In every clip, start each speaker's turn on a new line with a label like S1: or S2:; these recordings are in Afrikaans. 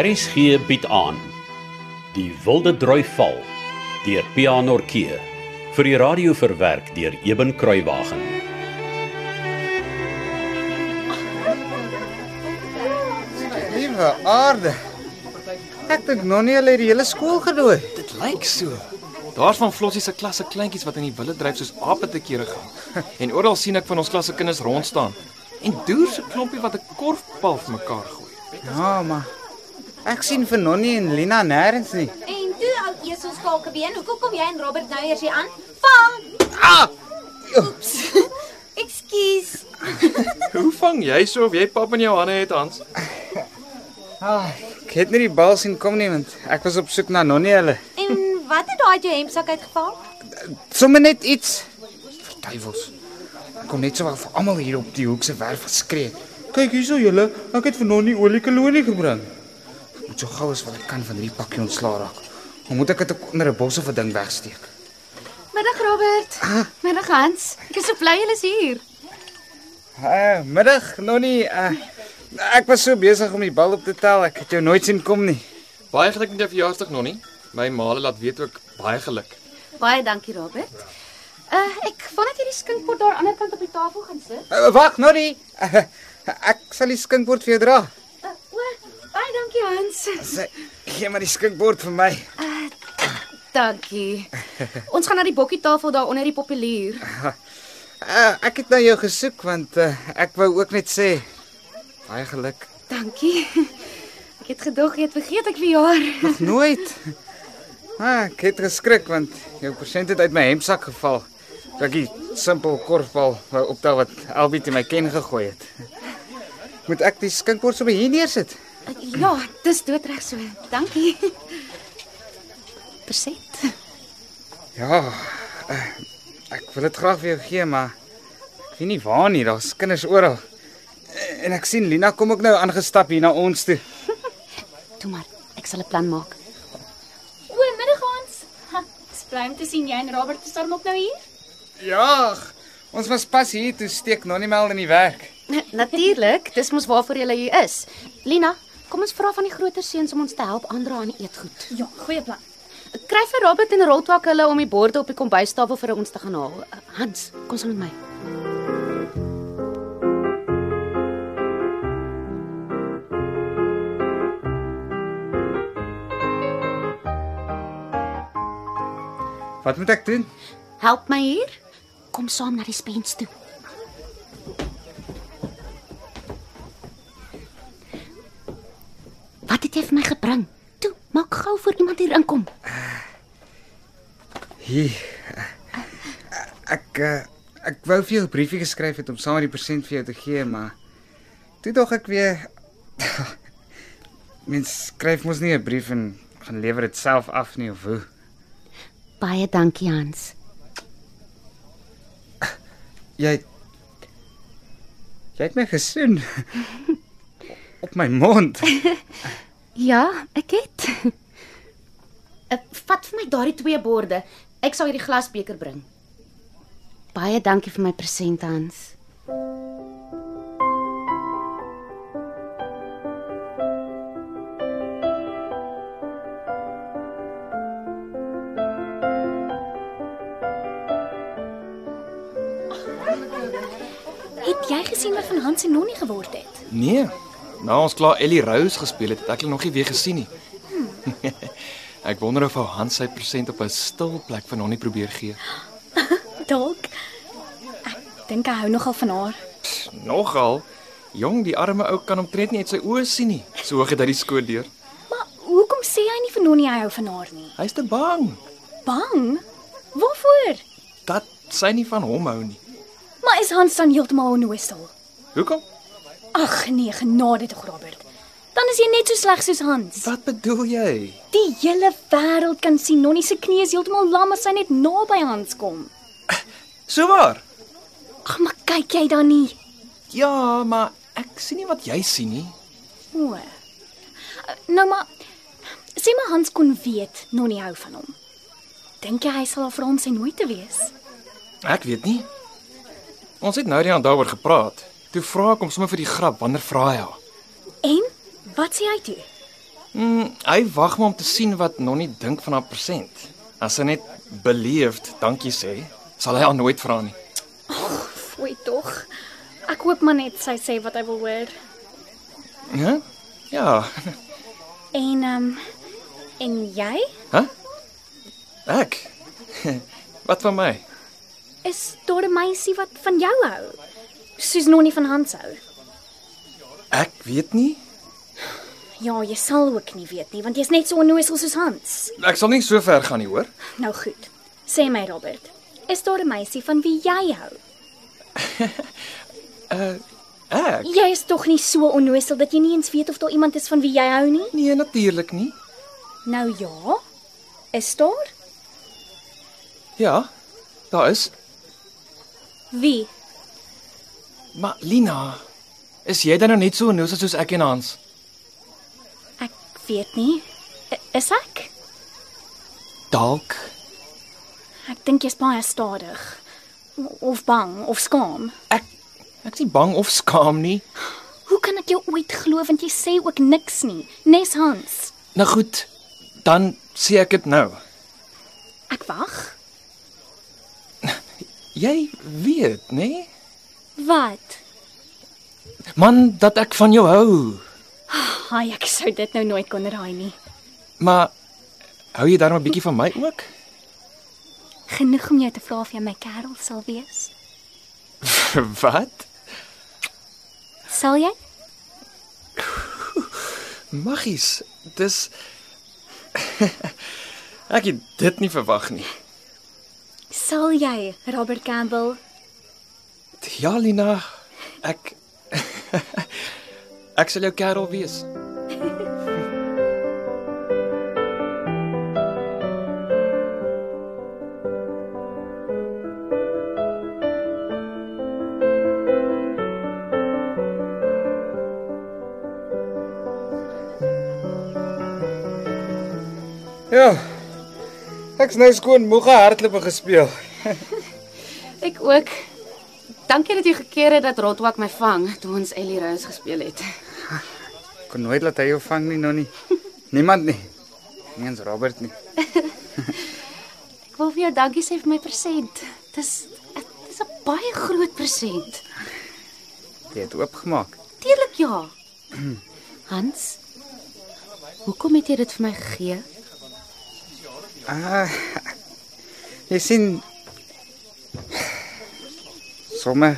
S1: Aris gee bied aan Die Wilde Droi Val deur Pianorkee vir die radio verwerk deur Eben Kruiwagen.
S2: Liewe aarde. Ek dink Nonnie het die hele skool gedooi.
S3: Dit lyk so. Daar's van Flossie se klasse kleintjies wat in die wille dryf soos ape te kere gaan. En oral sien ek van ons klasse kinders rond staan. En Doer se klompie wat 'n korfbal vir mekaar gooi.
S2: Ja, maar ek sien vir Nonnie en Lina nêrens nie.
S4: En toe ou eselskakebeen, hoekom kom jy en Robert nou eers hier aan? Vang! Ah! Oeps. Ekskuus.
S3: Hoe vang jy so of jy pap in jou hande het, Hans?
S2: Ah, ek het nie die bal sien kom nie want ek was op soek na Nonnie hulle.
S4: En wat het daai uit jou hemsak uitgeval?
S2: Sommige net iets. Verduivels. Ek kon net sowel vir almal hier op die hoek se werf geskree. Kyk hierso julle, ek het vir Nonnie oliekolonie gebring. Ek moet so gou as wat ek kan van hierdie pakkie ontslaa raak. Hoe moet ek dit ook onder 'n bos of 'n ding wegsteek?
S5: Middag Robert. Middag Hans. Ek is so bly julle is hier.
S2: Uh, middag Nonnie. Uh, ek was so besig om die bal op te tel, ek het jou nooit sien kom nie.
S3: Baie geluk met jou verjaarsdag, Nonnie. My maale laat weet ook baie geluk.
S5: Baie dankie Robert. Uh ek wil net hierdie skinkpot daar aan die ander kant op die tafel gaan sit.
S2: Uh, Wag, Nonnie. Uh, ek sal die skinkbord vir jou dra.
S4: Eh,
S5: Uh, o, baie dankie Hans.
S2: Sê, gee maar die skinkbord vir my.
S5: Dankie. Ons gaan na die bokkie tafel daar onder die populier.
S2: Uh, ek het na jou gesoek want uh, ek wou ook net sê baie geluk.
S5: Dankie. Ek het gedog jy het vergeet ek verjaar.
S2: Nog nooit. Ah, ek het geskrik want jou persent het uit my hemsak geval. Toe Ek die simpel korfbal wou optel wat Albie te my ken gegooi het. Moet ek die skinkbord sommer hier neersit?
S5: Uh, ja, dis doodreg so. Dankie. Perset.
S2: Ja. eh, Ek wil dit graag vir jou gee, maar ek weet nie waar nie, daar's kinders oral. Eh, En ek sien Lina kom ook nou aangestap hier na ons toe.
S5: Toe maar, ek sal 'n plan maak.
S4: O, middag ons. Dis bly om te sien jy en Robert is dan ook nou hier.
S2: Ja, ons was pas hier toe steek Nonniemel in die werk.
S5: Natuurlik, dis mos waarvoor jy hier is. Lina, kom ons vra van die groter seuns om ons te help aandra aan die eetgoed.
S4: Ja, goeie plan.
S5: Kry vir Robert en Roltwak hulle om die borde op die kombuistafel vir ons te gaan haal. Eh, Hans, kom saam met my.
S2: Wat moet ek doen?
S5: Help my hier. Kom saam na die spens toe. Wat het jy vir my gebring? Toe, maak gou voor iemand hier inkom.
S2: Hier. eh, Ek eh, ek wou vir jou 'n briefie geskryf het om saam met die persent vir jou te gee, maar toe dog ek weer mens skryf mos nie 'n brief en gaan lewer dit self af nie of hoe.
S5: Baie dankie, Hans.
S2: Jy Jy het my gesoen. op my mond.
S5: Ja, ek het. Ek Eh, vat vir my daardie twee borde. Ek sal hierdie glasbeker bring. Baie dankie vir my present, Hans.
S4: Het jy gesien wat van Hans en Nonnie geword het?
S3: Nee. Na ons klaar Ellie Rose gespeel het, het ek hulle nog nie weer gesien nie. Hm. ek wonder of ou Hans sy persent op 'n stil plek van Nonnie probeer gee.
S6: Dalk. Ek dink hy hou nogal van haar.
S3: Nogal. Jong, die arme ou kan omtrent nie uit sy oë sien nie. So hoog het hy die skoot deur.
S6: Maar hoekom sê hy nie vir Nonnie hy hou van haar nie?
S3: Hy's te bang
S6: Bang? Waarvoor?
S3: dat sy nie van hom hou nie.
S6: Maar is Hans dan heeltemal onnoosel?
S3: Hoekom?
S6: Ag nee, genade tog Robert. Dan is jy net so sleg soos Hans.
S3: Wat bedoel jy?
S6: Die hele wêreld kan sien Nonnie se knie is heeltemal lam as sy net naby Hans kom.
S3: So waar?
S6: Ag, maar kyk jy dan nie?
S3: Ja, maar ek sien nie wat jy sien nie.
S6: O. Nou maar sê maar Hans kon weet Nonnie hou van hom. Dink jy hy sal haar vra om sy nooit te wees?
S3: Ek weet nie. Ons het nou die aan daaroor gepraat. Toe vra ek hom sommer vir die grap wanneer vra hy haar.
S6: En wat sê hy toe?
S3: Mm, hy wag maar om te sien wat Nonnie dink van haar persent. As sy net beleefd dankie sê, sal hy haar nooit vra nie.
S6: Fooi tog. Ek hoop maar net sy sê wat hy wil hoor.
S3: Hæ? Ja.
S6: En ehm um, en jy
S3: Hæ? Ek. Wat van my?
S6: is daar 'n meisie wat van jou hou. Soos Nonnie van Hans hou.
S3: Ek weet nie.
S6: Ja, jy sal ook nie weet nie, want jy's net so onnoosel soos Hans.
S3: Ek sal nie so ver gaan nie, hoor.
S6: Nou goed. Sê my Robert, is daar 'n meisie van wie jy hou?
S3: Ek?
S6: Jy is tog nie so onnoosel dat jy nie eens weet of daar iemand is van wie jy hou nie?
S3: Nee, natuurlik nie.
S6: Nou ja. Is daar?
S3: Ja. Daar is.
S6: Wie?
S3: Maar Lina, is jy dan nou net so onnoos soos ek en Hans?
S6: Ek weet nie. I- Is ek?
S3: Dalk.
S6: Ek dink jy's baie stadig O- of bang of skaam.
S3: Ek ek's nie bang of skaam nie.
S6: Hoe kan ek jou ooit glo want jy sê ook niks nie, nes Hans.
S3: Nou goed, dan sê ek dit nou.
S6: Ek wag.
S3: Jy weet, nê? Nee?
S6: Wat?
S3: Man, dat ek van jou hou.
S6: Haai, ek sou dit nou nooit kon raai nie.
S3: Maar hou jy darm 'n bietjie van my ook?
S6: Genoeg om jou te vra of jy my kerel sal wees.
S3: Wat?
S6: Sal jy?
S3: Maggies, dis Ek het dit nie verwag nie.
S6: Sal jy, Robert Campbell?
S3: Ja, Lina, ek ek sal jou kerel wees.
S2: Ja. Ek's nou skoon moeg hardloop gespeel.
S5: Ek ook. Dankie dat jy gekeer het dat Rotwak my vang toe ons Ellie Rose gespeel het.
S2: Kon nooit laat hy jou vang nie, Nonnie. Niemand nie. Nie eens Robert nie.
S5: Ek wil vir jou dankie sê vir my persent. Dis dis 'n baie groot persent.
S2: Jy het oopgemaak.
S5: Tuurlik ja. Hans, hoekom het jy dit vir my gegee?
S2: Ah. Jy sien sommer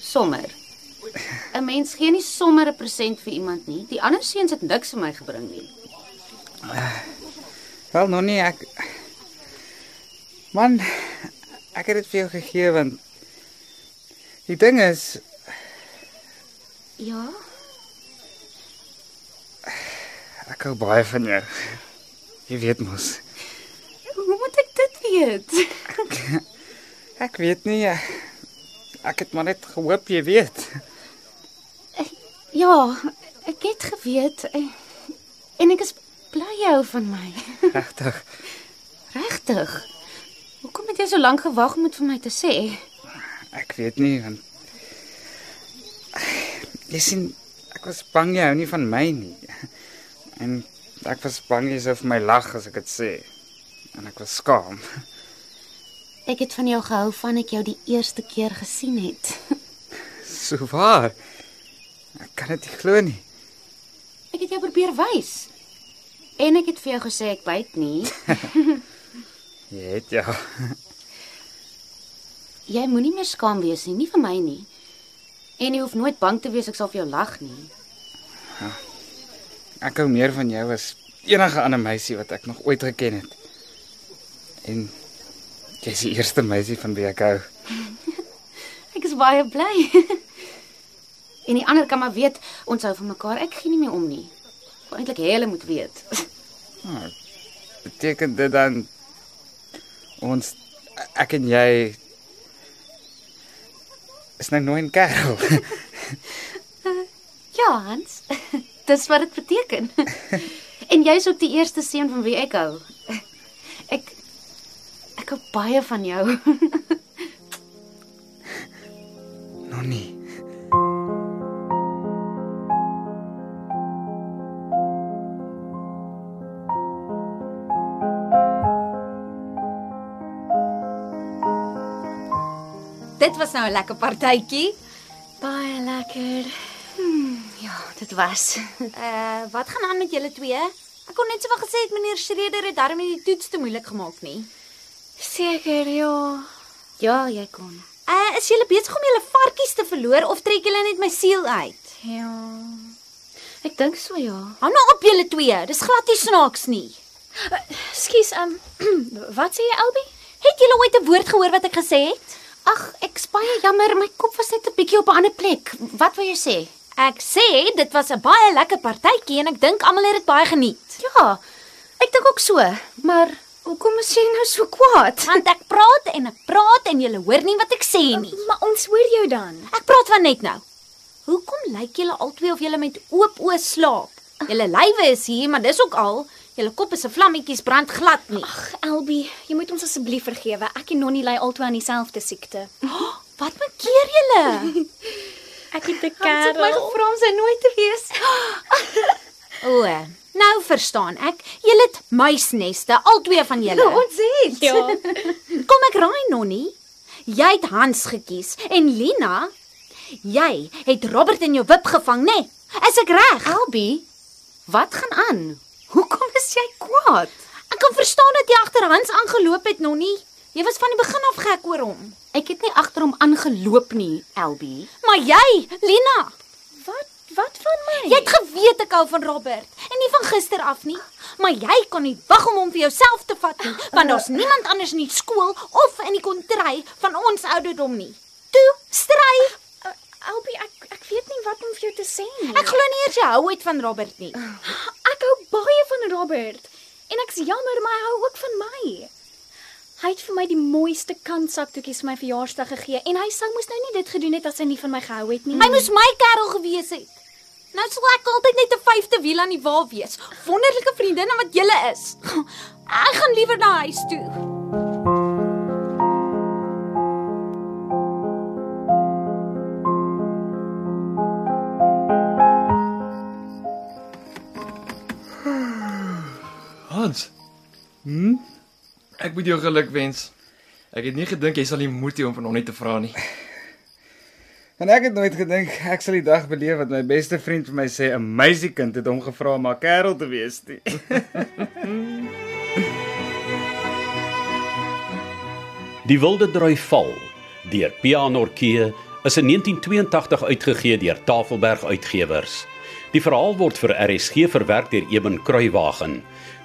S5: Sommer. 'n Mens gee nie sommer 'n persent vir iemand nie. Die ander seuns het niks vir my gebring nie.
S2: wel nog nie ek Man, ek het dit vir jou gegee want die ding is
S5: Ja,
S2: ek hou baie van jou. Jy weet mos.
S5: hoe moet ek dit weet?
S2: Ek weet nie ek, ek het maar net gehoop jy weet.
S5: Ja, ek het geweet eh, en ek is bly jy hou van my.
S2: Regtig.
S5: Regtig? Hoekom het jy so lank gewag om dit vir my te sê?
S2: Ek weet nie want jy sien ek was bang jy hou nie van my nie. En ek was bang jy sou vir my lag as ek dit sê. En ek was skaam.
S5: Ek het van jou gehou van ek jou die eerste keer gesien het.
S2: So waar. Ek kan dit nie glo nie.
S5: Ek het jou probeer wys. En ek het vir jou gesê ek byt nie.
S2: Jy het ja.
S5: Jy moenie meer skaam wees nie, nie vir my nie. En jy hoef nooit bang te wees ek sal vir jou lag nie.
S2: Ek hou meer van jou as enige ander meisie wat ek nog ooit geken het. En jy's die eerste meisie van wie ek hou.
S5: Ek is baie bly. en die ander kan maar weet ons hou van mekaar. Ek gee nie meer om nie. Wel eintlik hê hulle moet weet.
S2: Ah, beteken dit dan ons ek en jy is nou nooit 'n kerel?
S5: ja, Hans. Dis wat dit beteken. en jy's ook die eerste seun van wie ek hou. Ek ek hou baie van jou.
S2: Nog nie.
S7: Dit was nou 'n lekker partytjie.
S6: Baie lekker.
S5: Ja, dit was.
S7: Uh, wat gaan aan met julle twee? Ek kon net sowel gesê het meneer Schreder het darm nie die toets te moeilik gemaak nie.
S6: Seker, ja.
S5: Ja, jy kon.
S7: Uh, is julle besig om julle varkies te verloor of trek julle net my siel uit?
S6: Ja.
S5: Ek dink so ja.
S7: Hou nou op julle twee. Dis glad nie snaaks nie.
S6: Skus, ehm wat sê jy, Elbie?
S7: Het julle ooit 'n woord gehoor wat ek gesê het?
S5: Ag, ek's baie jammer, my kop was net 'n bietjie op 'n ander plek. Wat wil jy sê?
S7: Ek sê dit was 'n baie lekker partytjie en ek dink almal het dit baie geniet.
S5: Ja. Ek dink ook so, maar hoekom is jy nou so kwaad?
S7: Want ek praat en ek praat en julle hoor nie wat ek sê nie.
S6: Maar ons hoor jou dan.
S7: Ek praat van net nou. Hoekom lyk julle albei of julle met oop oë slaap? Julle lywe is hier, maar dis ook al. Julle kop is se vlammetjies brand glad nie.
S6: Ag, Elbie, jy moet ons asseblief vergewe. Ek en Nonnie ly altyd aan dieselfde siekte.
S7: Wat maak keer julle?
S6: Ek het 'n
S7: Hans het my
S6: gevra om sy nooit te wees.
S7: O, nou verstaan ek. Julle het muisneste, albei van julle.
S5: het.
S6: Ja.
S7: Kom ek raai nonnie. Jy het Hans gekies en Lina, jy het Robert in jou wip gevang, né? Nee, is ek reg?
S5: Albie, wat gaan aan? Hoekom is jy kwaad?
S7: Ek kan verstaan dat jy agter Hans aangeloop het, nonnie. Jy was van die begin af gek oor hom.
S5: Ek het nie agter hom aangeloop nie, Albie.
S7: Maar jy, Lina,
S6: Wat wat van my?
S7: jy het geweet ek hou van Robert en nie van gister af nie, maar jy kon nie wag om hom vir jouself te vat nie, want daar's niemand anders in die skool of in die kontry van ons ouderdom nie. Toe, stry.
S6: Elbie, Eh, ek ek weet nie wat om vir jou te sê nie.
S7: Ek glo nie eers jy hou uit van Robert nie.
S6: ek hou baie van Robert en ek's jammer maar hy hou ook van my. Hy het vir my die mooiste kantsaktoekies vir my verjaarsdag gegee en hy sou mos nou nie dit gedoen het as hy nie van my gehou het nie.
S7: Hy moes my kerel gewees het. Nou sal ek altyd net 'n vyfde wiel aan die wa wees. Wonderlike vriendinne wat jy is. Ek gaan liewer na huis toe.
S3: Hans. Hm? Ek moet jou geluk wens. Ek het nie gedink jy sal die moed hê om van hom net te vra nie.
S2: En ek het nooit gedink ek sal die dag beleef wat my beste vriend vir my sê 'n meisiekind het hom gevra om 'n kerel te wees nie.
S1: Die Wilde Droi Val deur Pianorkee is in 1982 uitgegee deur Tafelberg Uitgewers. Die verhaal word vir RSG verwerk deur Eben Kruiwagen.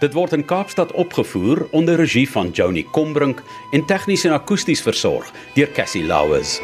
S1: Dit word in Kaapstad opgevoer onder regie van Johnny Combrink en tegnies en akoesties versorg deur Cassie Lauers.